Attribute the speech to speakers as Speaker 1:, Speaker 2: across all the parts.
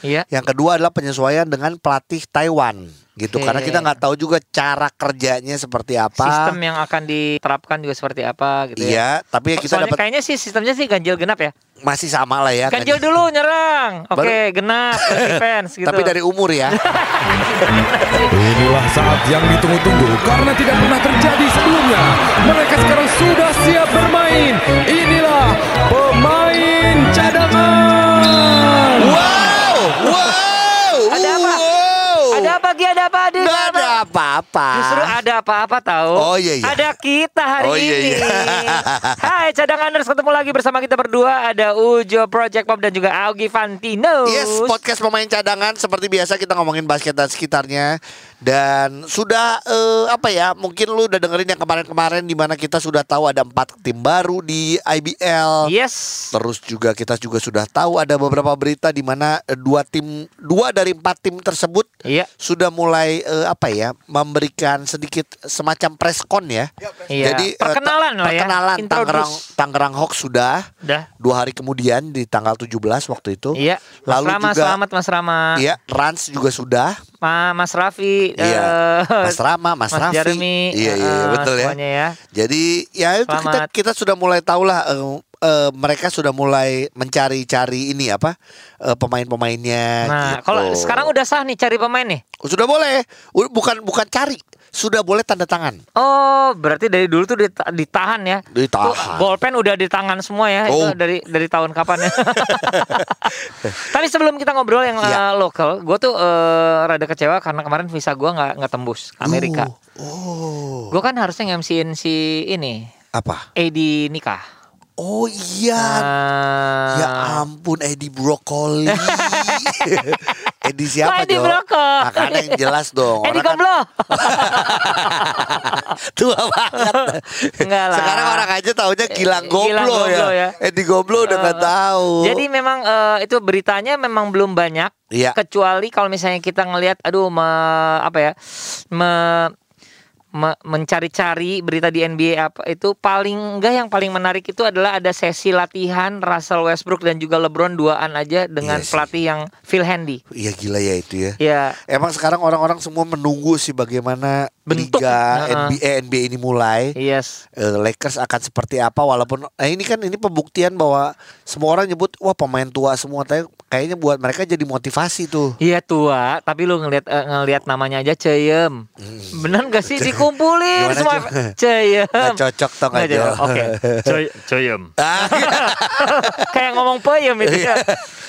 Speaker 1: Iya.
Speaker 2: Yang kedua adalah penyesuaian dengan pelatih Taiwan gitu
Speaker 1: Oke.
Speaker 2: karena kita nggak tahu juga cara kerjanya seperti apa.
Speaker 1: Sistem yang akan diterapkan juga seperti apa gitu ya.
Speaker 2: Iya, tapi kita
Speaker 1: Soalnya
Speaker 2: dapat Iya,
Speaker 1: kayaknya sih sistemnya sih ganjil genap ya.
Speaker 2: masih sama lah ya.
Speaker 1: Ganjil dulu nyerang. Oke, genap defense gitu.
Speaker 2: Tapi dari umur ya.
Speaker 3: Inilah saat yang ditunggu-tunggu karena tidak pernah terjadi sebelumnya. Mereka sekarang sudah siap bermain. Inilah pemain cadangan.
Speaker 2: wow, wow.
Speaker 1: Ada apa?
Speaker 2: wow.
Speaker 1: ada apa Ki? Ada apa Adi?
Speaker 2: Nggak ada apa-apa.
Speaker 1: Justru ada apa-apa tahu.
Speaker 2: Oh, iya, iya.
Speaker 1: Ada kita hari
Speaker 2: Oh, iya,
Speaker 1: ini.
Speaker 2: iya.
Speaker 1: Hai cadanganers ketemu lagi bersama kita berdua ada Ujo Project Pop dan juga Augie Fantino.
Speaker 2: Yes, podcast pemain cadangan seperti biasa kita ngomongin basket dan sekitarnya dan sudah eh, apa ya? Mungkin lu udah dengerin yang kemarin-kemarin di mana kita sudah tahu ada empat tim baru di IBL.
Speaker 1: Yes.
Speaker 2: Terus juga kita juga sudah tahu ada beberapa berita di mana eh, dua tim dua dari empat tim tersebut
Speaker 1: Iya.
Speaker 2: sudah mulai eh, apa ya memberikan sedikit semacam preskon ya.
Speaker 1: Iya.
Speaker 2: Jadi eh, ta-
Speaker 1: Perkenalan lah ya.
Speaker 2: Perkenalan
Speaker 1: Introduce.
Speaker 2: Tangerang Tangerang Hawks sudah
Speaker 1: Udah.
Speaker 2: dua hari kemudian di tanggal 17 waktu itu.
Speaker 1: Iya. Mas
Speaker 2: Lalu
Speaker 1: Rama,
Speaker 2: juga
Speaker 1: selamat Mas Rama.
Speaker 2: Iya, Rans juga sudah.
Speaker 1: Ma- Mas Raffi.
Speaker 2: Iya.
Speaker 1: eh,
Speaker 2: Mas Rama, Mas, Raffi.
Speaker 1: Jeremy.
Speaker 2: Iya, iya,
Speaker 1: eh,
Speaker 2: betul ya.
Speaker 1: Semuanya ya.
Speaker 2: Jadi ya itu kita
Speaker 1: Selamat.
Speaker 2: kita sudah mulai tahulah eh eh, mereka sudah mulai mencari-cari ini apa eh, pemain-pemainnya.
Speaker 1: Nah,
Speaker 2: gitu.
Speaker 1: kalau sekarang udah sah nih cari pemain nih.
Speaker 2: sudah boleh, U- bukan bukan cari, sudah boleh tanda tangan.
Speaker 1: Oh, berarti dari dulu tuh dita- ditahan ya.
Speaker 2: Ditahan.
Speaker 1: Tuh, Bolpen udah di tangan semua ya.
Speaker 2: Oh.
Speaker 1: Itu dari dari tahun kapan ya? Tadi sebelum kita ngobrol yang
Speaker 2: Iya.
Speaker 1: eh, lokal, gue tuh eh, rada kecewa karena kemarin visa gua nggak nggak tembus ke Amerika.
Speaker 2: Oh, oh.
Speaker 1: Gue kan harusnya nge-MC-in si ini,
Speaker 2: apa?
Speaker 1: Edi nikah.
Speaker 2: Oh iya. Ya
Speaker 1: Ah.
Speaker 2: ampun Edi Brokoli. Edi siapa
Speaker 1: Kok Edi
Speaker 2: Jo?
Speaker 1: Brokoli?
Speaker 2: Makanya yang jelas dong.
Speaker 1: Edi
Speaker 2: Orang kan-
Speaker 1: Gomblo.
Speaker 2: Tua banget.
Speaker 1: Enggak lah. Eh,
Speaker 2: Sekarang orang aja taunya Gilang
Speaker 1: Gilang
Speaker 2: Goblo,
Speaker 1: Goblo
Speaker 2: ya.
Speaker 1: ya.
Speaker 2: Edi Goblo udah nggak tahu.
Speaker 1: Jadi memang eh, itu beritanya memang belum banyak.
Speaker 2: Iya.
Speaker 1: Kecuali kalau misalnya kita ngelihat, aduh, me- apa ya, me- me- mencari-cari berita di NBA apa itu paling enggak yang paling menarik itu adalah ada sesi latihan Russell Westbrook dan juga LeBron duaan aja dengan
Speaker 2: Iya sih.
Speaker 1: pelatih yang Phil Handy.
Speaker 2: Iya gila ya itu ya.
Speaker 1: Ya,
Speaker 2: Emang sekarang orang-orang semua menunggu sih bagaimana
Speaker 1: Bentuk.
Speaker 2: liga
Speaker 1: Heeh.
Speaker 2: NBA, NBA ini mulai.
Speaker 1: yes.
Speaker 2: Eh, Lakers akan seperti apa walaupun nah ini kan ini pembuktian bahwa semua orang nyebut wah pemain tua semua tapi kayaknya buat mereka jadi motivasi tuh.
Speaker 1: Iya tua, tapi lu ngelihat eh, ngelihat namanya aja Ceyem. Bener gak sih dikumpulin
Speaker 2: Hmm. Gimana,
Speaker 1: semua
Speaker 2: Jo?
Speaker 1: Ceyem.
Speaker 2: Nggak cocok tau nggak,
Speaker 1: Nggak cocok,
Speaker 2: Jo?
Speaker 1: Oke. Cey- Ceyem.
Speaker 2: Ah,
Speaker 1: Kayak ngomong peyem itu ya.
Speaker 2: Iya.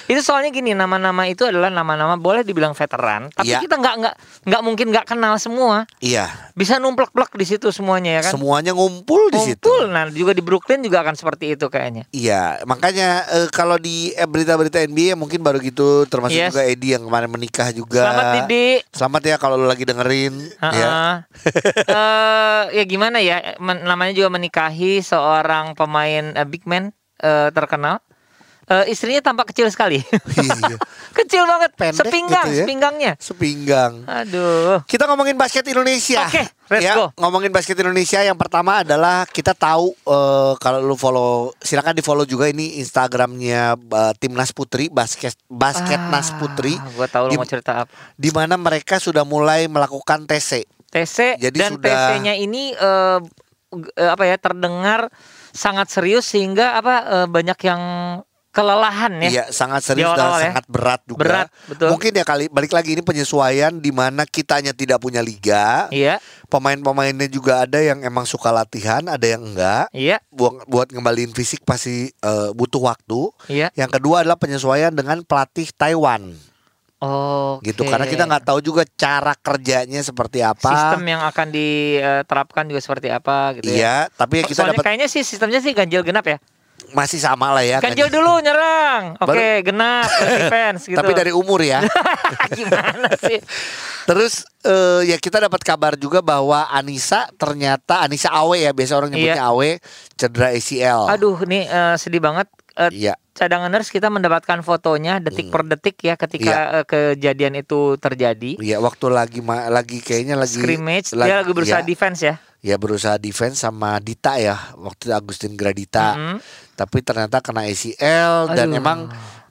Speaker 1: Itu soalnya gini nama-nama itu adalah nama-nama boleh dibilang veteran, tapi
Speaker 2: Iya.
Speaker 1: kita nggak nggak nggak mungkin nggak kenal semua.
Speaker 2: iya,
Speaker 1: Bisa numplek-plek di situ semuanya ya kan.
Speaker 2: semuanya ngumpul di situ.
Speaker 1: Kumpul, nah juga di Brooklyn juga akan seperti itu kayaknya.
Speaker 2: Iya, makanya eh, kalau di eh, berita-berita NBA mungkin baru gitu, termasuk
Speaker 1: Yes.
Speaker 2: juga Edi yang kemarin menikah juga.
Speaker 1: Selamat Didi.
Speaker 2: Selamat ya kalau lu lagi dengerin.
Speaker 1: Heeh.
Speaker 2: Ya.
Speaker 1: Eh, ya gimana ya men- namanya juga menikahi seorang pemain eh, big man eh, terkenal. Eh, istrinya tampak kecil sekali.
Speaker 2: Iya.
Speaker 1: kecil banget,
Speaker 2: Pendek
Speaker 1: sepinggang,
Speaker 2: gitu ya.
Speaker 1: sepinggangnya.
Speaker 2: Sepinggang.
Speaker 1: Aduh.
Speaker 2: Kita ngomongin basket Indonesia.
Speaker 1: Oke, let's
Speaker 2: ya,
Speaker 1: go.
Speaker 2: Ngomongin basket Indonesia yang pertama adalah kita tahu eh, kalau lu follow, silakan di follow juga ini Instagramnya eh, Timnas Putri basket Basketnas Putri,
Speaker 1: Gue Ah, tahu lu
Speaker 2: Di-
Speaker 1: mau cerita apa.
Speaker 2: di mana mereka sudah mulai melakukan TC.
Speaker 1: TC
Speaker 2: Jadi
Speaker 1: dan
Speaker 2: sudah-
Speaker 1: TC-nya ini eh, g- eh, apa ya terdengar sangat serius sehingga apa eh, banyak yang kelelahan ya.
Speaker 2: Iya, sangat serius
Speaker 1: Di
Speaker 2: dan
Speaker 1: awal-awal ya.
Speaker 2: sangat berat juga.
Speaker 1: Berat, betul.
Speaker 2: Mungkin ya kali balik lagi ini penyesuaian di mana kitanya tidak punya liga,
Speaker 1: Iya,
Speaker 2: pemain-pemainnya juga ada yang emang suka latihan, ada yang enggak.
Speaker 1: iya,
Speaker 2: Buat buat ngembaliin fisik pasti eh, butuh waktu.
Speaker 1: iya.
Speaker 2: Yang kedua adalah penyesuaian dengan pelatih Taiwan,
Speaker 1: Oh.
Speaker 2: gitu. Karena kita nggak tahu juga cara kerjanya seperti apa.
Speaker 1: sistem yang akan diterapkan juga seperti apa gitu ya.
Speaker 2: Iya, tapi ya kita
Speaker 1: Soalnya
Speaker 2: dapat
Speaker 1: kayaknya sih sistemnya sih ganjil genap ya.
Speaker 2: masih sama lah ya.
Speaker 1: Ganjil dulu nyerang. Oke, genap defense gitu.
Speaker 2: Tapi dari umur ya.
Speaker 1: gimana sih?
Speaker 2: Terus eh, ya kita dapat kabar juga bahwa Anissa ternyata Anissa Awe ya biasa orang nyebutnya Awe cedera ACL.
Speaker 1: Iya. Aduh, nih eh, sedih banget. Eh,
Speaker 2: Iya.
Speaker 1: cadanganers kita mendapatkan fotonya detik per detik ya ketika eh, kejadian itu terjadi.
Speaker 2: Iya waktu lagi ma- lagi kayaknya lagi
Speaker 1: Scrimmage dia lagi berusaha
Speaker 2: ya,
Speaker 1: defense ya.
Speaker 2: ya, berusaha defense sama Dita ya waktu itu Agustin Gradita.
Speaker 1: Mm.
Speaker 2: Tapi ternyata kena ACL dan
Speaker 1: Aduh.
Speaker 2: emang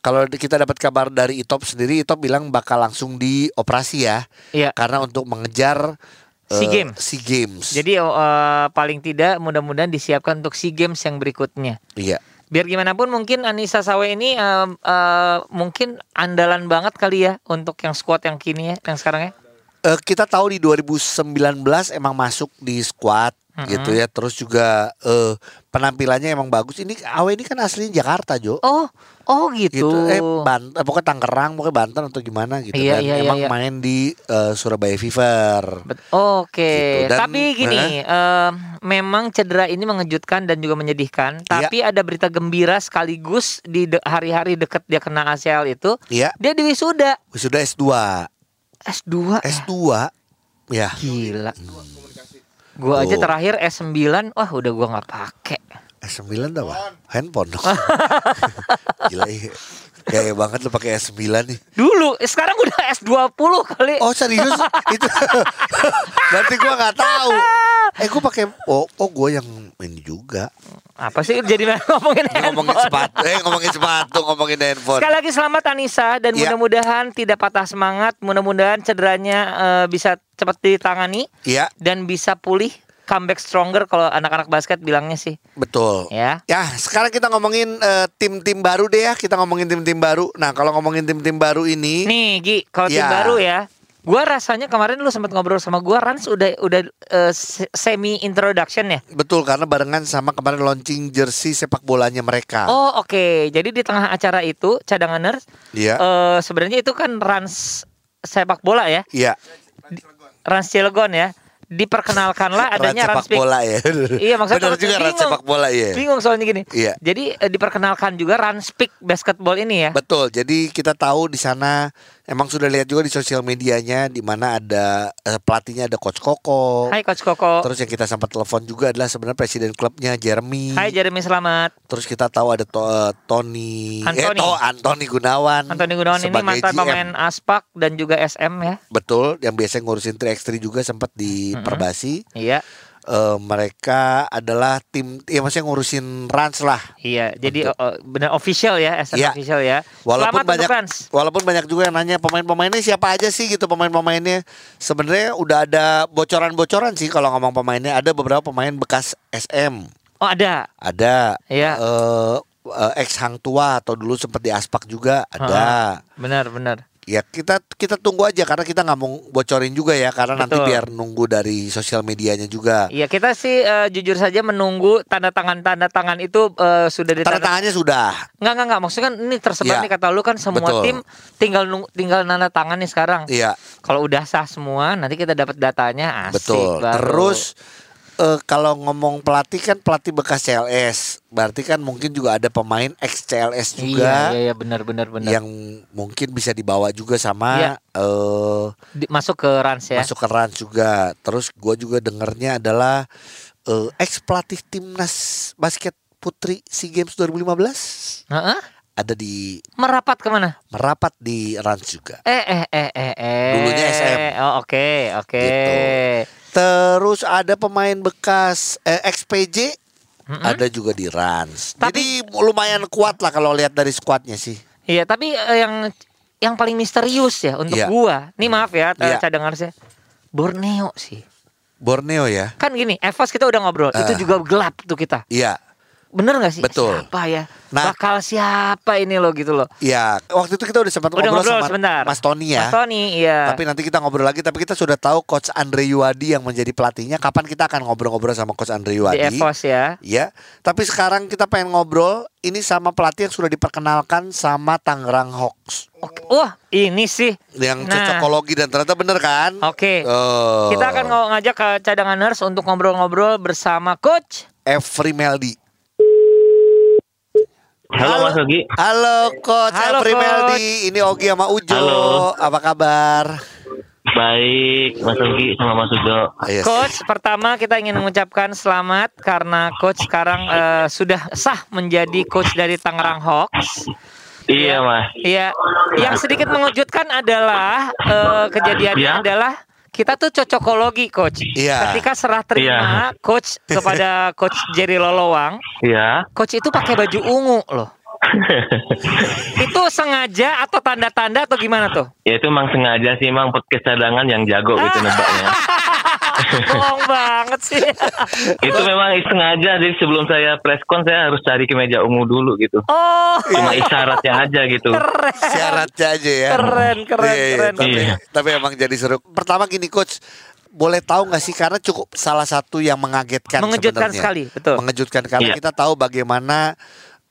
Speaker 2: Kalau di- kita dapat kabar dari Itop sendiri, Itop bilang bakal langsung dioperasi ya,
Speaker 1: Iya.
Speaker 2: karena untuk mengejar
Speaker 1: SEA
Speaker 2: eh,
Speaker 1: Games.
Speaker 2: SEA Games.
Speaker 1: Jadi eh, paling tidak mudah-mudahan disiapkan untuk SEA Games yang berikutnya.
Speaker 2: iya.
Speaker 1: Biar gimana pun mungkin Anissa Sawe ini eh, eh, mungkin andalan banget kali ya untuk yang squad yang kini ya, yang sekarang ya.
Speaker 2: Eh, kita tahu di 2019 emang masuk di squad gitu ya. Terus juga eh, penampilannya emang bagus. Ini Awe ini kan aslinya Jakarta, Jo.
Speaker 1: Oh, oh
Speaker 2: Gitu.
Speaker 1: gitu.
Speaker 2: Eh, Ban- eh, pokoknya Tangerang, pokoknya Banten atau gimana gitu dan
Speaker 1: Iya, iya, iya,
Speaker 2: emang
Speaker 1: iya.
Speaker 2: main di eh, Surabaya Fever.
Speaker 1: Bet- Oke,
Speaker 2: Gitu, dan-
Speaker 1: tapi gini, em, memang cedera ini mengejutkan dan juga menyedihkan.
Speaker 2: Iya.
Speaker 1: Tapi ada berita gembira sekaligus di de- hari-hari deket dia kena ACL itu,
Speaker 2: Iya,
Speaker 1: dia diwisuda
Speaker 2: sudah S2.
Speaker 1: S2.
Speaker 2: S2 ya.
Speaker 1: Gila. Gua aja
Speaker 2: Tuh.
Speaker 1: terakhir S9, wah udah gua nggak pakai.
Speaker 2: S9 tau apa? Handphone dong. Gila iya. Gaya banget lu pakai S9 nih.
Speaker 1: Dulu, eh, sekarang udah S20 kali.
Speaker 2: Oh serius itu. Berarti gua nggak tahu. Eh gua pakai oh, oh gua yang ini juga.
Speaker 1: Apa sih jadi ngomongin
Speaker 2: Ini ngomongin
Speaker 1: handphone?
Speaker 2: sepatu, eh ngomongin sepatu, ngomongin handphone.
Speaker 1: Sekali lagi selamat Anissa dan
Speaker 2: Iya.
Speaker 1: mudah-mudahan tidak patah semangat, mudah-mudahan cederanya eh, bisa cepat ditangani.
Speaker 2: Iya,
Speaker 1: dan bisa pulih comeback stronger kalau anak-anak basket bilangnya sih
Speaker 2: betul.
Speaker 1: ya
Speaker 2: Ya, sekarang kita ngomongin eh, tim-tim baru deh ya. Kita ngomongin tim-tim baru. Nah, kalau ngomongin tim-tim baru ini
Speaker 1: nih Gi kalau tim
Speaker 2: Ya.
Speaker 1: baru ya gua rasanya kemarin lu sempat ngobrol sama gua Rans udah udah eh, se- semi introduction ya
Speaker 2: Betul karena barengan sama kemarin launching jersey sepak bolanya mereka.
Speaker 1: oh oke jadi di tengah acara itu cadanganers
Speaker 2: Iya.
Speaker 1: eh, sebenarnya itu kan Rans sepak bola ya
Speaker 2: Iya.
Speaker 1: Rans Cilegon ya diperkenalkanlah adanya
Speaker 2: Ran sepak
Speaker 1: Rans Pick-
Speaker 2: bola ya.
Speaker 1: Iya, maksudnya
Speaker 2: Benar
Speaker 1: kalau
Speaker 2: juga ran
Speaker 1: bingung.
Speaker 2: sepak bola ya.
Speaker 1: bingung soalnya gini
Speaker 2: Iya.
Speaker 1: jadi eh, diperkenalkan juga Rans Pick basketball ini ya
Speaker 2: Betul. Jadi kita tahu di sana emang sudah lihat juga di sosial medianya di mana ada eh, pelatihnya ada coach Koko.
Speaker 1: Hai Coach Koko
Speaker 2: Terus yang kita sempat telepon juga adalah sebenarnya presiden klubnya Jeremy.
Speaker 1: Hai Jeremy selamat
Speaker 2: Terus kita tahu ada to, eh, Tony eh,
Speaker 1: Anthony.
Speaker 2: to, Anthony Gunawan.
Speaker 1: Anthony Hmm. Gunawan ini
Speaker 2: sebagai
Speaker 1: mantan
Speaker 2: GM.
Speaker 1: pemain Aspak dan juga SM ya.
Speaker 2: Betul, yang biasanya ngurusin 3x3 juga sempat di Perbasi.
Speaker 1: Iya.
Speaker 2: Eh, mereka adalah tim ya maksudnya ngurusin Rans lah.
Speaker 1: Iya, jadi eh, benar official ya, SM
Speaker 2: Iya.
Speaker 1: official ya.
Speaker 2: Walaupun
Speaker 1: Selamat
Speaker 2: banyak
Speaker 1: untuk Rans.
Speaker 2: walaupun banyak juga yang nanya pemain-pemainnya siapa aja sih gitu pemain-pemainnya. Sebenarnya udah ada bocoran-bocoran sih kalau ngomong pemainnya ada beberapa pemain bekas SM.
Speaker 1: Oh, ada.
Speaker 2: Ada
Speaker 1: Iya.
Speaker 2: eh, eh, ex Hang Tua atau dulu sempat di Aspak juga ada.
Speaker 1: Benar, benar.
Speaker 2: Ya kita kita tunggu aja karena kita nggak mau bocorin juga ya karena nanti
Speaker 1: Betul.
Speaker 2: biar nunggu dari sosial medianya juga.
Speaker 1: Iya, kita sih eh, jujur saja menunggu tanda tangan tanda tangan itu eh, sudah
Speaker 2: Tanda
Speaker 1: ditanda.
Speaker 2: tangannya sudah.
Speaker 1: Enggak, enggak, enggak. Maksudnya kan ini tersebar
Speaker 2: Iya.
Speaker 1: nih kata lu kan semua
Speaker 2: Betul.
Speaker 1: tim tinggal nung- tinggal tanda tangan nih sekarang.
Speaker 2: Iya.
Speaker 1: Kalau udah sah semua, nanti kita dapat datanya asik
Speaker 2: Betul.
Speaker 1: baru.
Speaker 2: Terus eh, kalau ngomong pelatih kan pelatih bekas CLS, berarti kan mungkin juga ada pemain ex CLS
Speaker 1: Iya,
Speaker 2: juga
Speaker 1: iya, iya, benar benar benar.
Speaker 2: yang mungkin bisa dibawa juga
Speaker 1: Iya.
Speaker 2: sama eh
Speaker 1: Di- Masuk ke Rans ya.
Speaker 2: masuk ke Rans juga. Terus gue juga dengernya adalah eh, ex pelatih timnas basket putri SEA Games 2015
Speaker 1: Heeh.
Speaker 2: ada di
Speaker 1: Merapat kemana?
Speaker 2: merapat di Rans juga.
Speaker 1: Eh eh eh eh eh.
Speaker 2: Dulunya SM.
Speaker 1: Oh oke oke.
Speaker 2: Gitu. Terus ada pemain bekas eh, XPJ ada juga di Rans.
Speaker 1: Tapi-
Speaker 2: Jadi lumayan kuat lah kalau lihat dari skuadnya sih.
Speaker 1: Iya tapi eh, yang yang paling misterius ya untuk
Speaker 2: Iya.
Speaker 1: gua. Nih maaf ya
Speaker 2: Iya.
Speaker 1: yeah. cadangannya Borneo sih.
Speaker 2: Borneo ya.
Speaker 1: Kan gini, Evos kita udah ngobrol,
Speaker 2: Ah.
Speaker 1: itu juga gelap tuh kita.
Speaker 2: Iya.
Speaker 1: Bener gak sih?
Speaker 2: Betul.
Speaker 1: Siapa ya?
Speaker 2: Nah-
Speaker 1: Bakal siapa ini lo gitu loh.
Speaker 2: Iya, waktu itu kita udah sempat
Speaker 1: Udah
Speaker 2: ngobrol,
Speaker 1: ngobrol
Speaker 2: sama
Speaker 1: sebentar.
Speaker 2: Mas Tony ya.
Speaker 1: Mas Tony, iya.
Speaker 2: Tapi nanti kita ngobrol lagi, tapi kita sudah tahu coach Andre Yuwadi yang menjadi pelatihnya kapan kita akan ngobrol-ngobrol sama coach Andre
Speaker 1: di
Speaker 2: Yuwadi.
Speaker 1: Evos ya.
Speaker 2: Iya. Tapi sekarang kita pengen ngobrol ini sama pelatih yang sudah diperkenalkan sama Tangerang Hawks.
Speaker 1: Oke. Wah, ini sih.
Speaker 2: Yang
Speaker 1: Nah.
Speaker 2: cocokologi dan ternyata bener kan?
Speaker 1: Oke.
Speaker 2: Oh.
Speaker 1: Kita akan ngo- ngajak ke cadanganers untuk ngobrol-ngobrol bersama coach.
Speaker 2: Every Meldi.
Speaker 4: Halo, Mas Ogi.
Speaker 2: Halo Coach
Speaker 1: Halo,
Speaker 2: Every
Speaker 1: Coach.
Speaker 2: Meldi. Ini Ogi sama Ujo.
Speaker 4: Halo.
Speaker 2: Apa kabar?
Speaker 4: Baik, Mas Ogi sama Mas Ujo.
Speaker 2: Yes.
Speaker 1: Coach, pertama kita ingin mengucapkan selamat karena coach sekarang eh, sudah sah menjadi coach dari Tangerang Hawks.
Speaker 4: Iya, Mas.
Speaker 1: Iya, yang sedikit mengejutkan adalah eh, kejadiannya
Speaker 4: Iya.
Speaker 1: adalah kita tuh cocokologi, coach.
Speaker 2: Iya.
Speaker 1: Ketika serah terima coach kepada coach Jerry Lolowang,
Speaker 4: Iya.
Speaker 1: coach itu pakai baju ungu loh. Itu sengaja atau tanda-tanda atau gimana tuh?
Speaker 4: Ya itu emang sengaja sih emang podcast cadangan yang jago gitu nebaknya.
Speaker 1: Bohong banget sih.
Speaker 4: itu memang sengaja jadi sebelum saya preskon saya harus cari ke meja ungu dulu gitu.
Speaker 1: Oh,
Speaker 2: Iya.
Speaker 4: Cuma isyaratnya aja gitu.
Speaker 2: Syaratnya aja ya.
Speaker 1: Keren, keren,
Speaker 2: Iya, iya,
Speaker 1: keren.
Speaker 2: Tapi,
Speaker 4: Iya.
Speaker 2: tapi emang jadi seru. Pertama gini coach, boleh tahu nggak sih karena cukup salah satu yang mengagetkan
Speaker 1: Mengejutkan
Speaker 2: sebenarnya.
Speaker 1: sekali, betul.
Speaker 2: Mengejutkan karena
Speaker 4: Iya.
Speaker 2: kita tahu bagaimana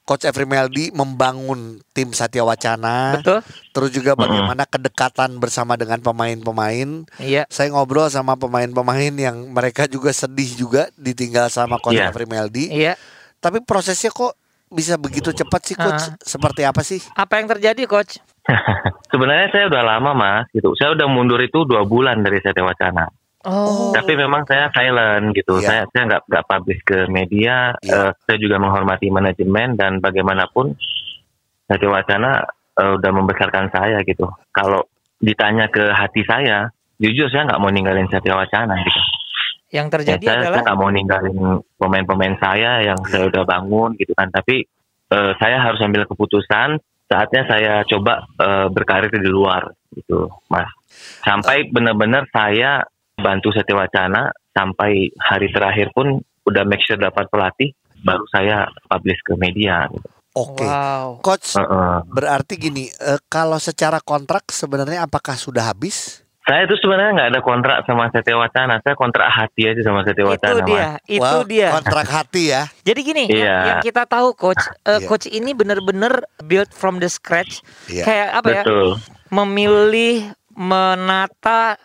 Speaker 2: Coach Every Meldi membangun tim Satya Wacana.
Speaker 1: Betul.
Speaker 2: Terus juga bagaimana kedekatan bersama dengan pemain-pemain.
Speaker 1: Iya.
Speaker 2: Saya ngobrol sama pemain-pemain yang mereka juga sedih juga ditinggal sama Coach
Speaker 4: Iya.
Speaker 2: Every Meldi.
Speaker 1: Iya.
Speaker 2: Tapi prosesnya kok bisa begitu cepat sih coach?
Speaker 1: Ah.
Speaker 2: Seperti apa sih?
Speaker 1: Apa yang terjadi, coach?
Speaker 4: Sebenarnya saya udah lama mas gitu. Saya udah mundur itu dua bulan dari Satya Wacana.
Speaker 1: Oh.
Speaker 4: Tapi memang saya silent
Speaker 2: Iya.
Speaker 4: gitu. Saya saya nggak nggak publish ke media.
Speaker 2: Iya.
Speaker 4: Eh, saya juga menghormati manajemen dan bagaimanapun Satya Wacana eh, udah membesarkan saya gitu. Kalau ditanya ke hati saya, jujur saya nggak mau ninggalin Satya Wacana gitu.
Speaker 1: Yang
Speaker 4: Ya,
Speaker 1: terjadi
Speaker 4: saya saya
Speaker 1: adalah
Speaker 4: nggak mau ninggalin pemain-pemain saya yang saya udah bangun gitu kan. Tapi eh, saya harus ambil keputusan. Saatnya saya coba eh, berkarir di luar gitu, Mas.
Speaker 1: Eh.
Speaker 4: Sampai benar-benar saya bantu Satya Wacana sampai hari terakhir pun udah make sure dapat pelatih baru saya publish ke media gitu.
Speaker 2: Oke.
Speaker 1: Wow.
Speaker 2: Coach
Speaker 4: Heeh.
Speaker 2: berarti gini, eh, kalau secara kontrak sebenarnya apakah sudah habis?
Speaker 4: Saya tuh sebenarnya nggak ada kontrak sama Satya Wacana, saya kontrak hati aja sama Satya
Speaker 1: Itu
Speaker 4: Wacana, Mas.
Speaker 1: dia, itu
Speaker 2: Wah,
Speaker 1: dia.
Speaker 2: Kontrak hati ya.
Speaker 1: Jadi gini, yang-
Speaker 4: Iya.
Speaker 1: yang kita tahu coach, eh,
Speaker 2: Iya.
Speaker 1: coach ini benar-benar build from the scratch.
Speaker 2: Iya.
Speaker 1: Kayak apa ya?
Speaker 4: Betul.
Speaker 1: memilih menata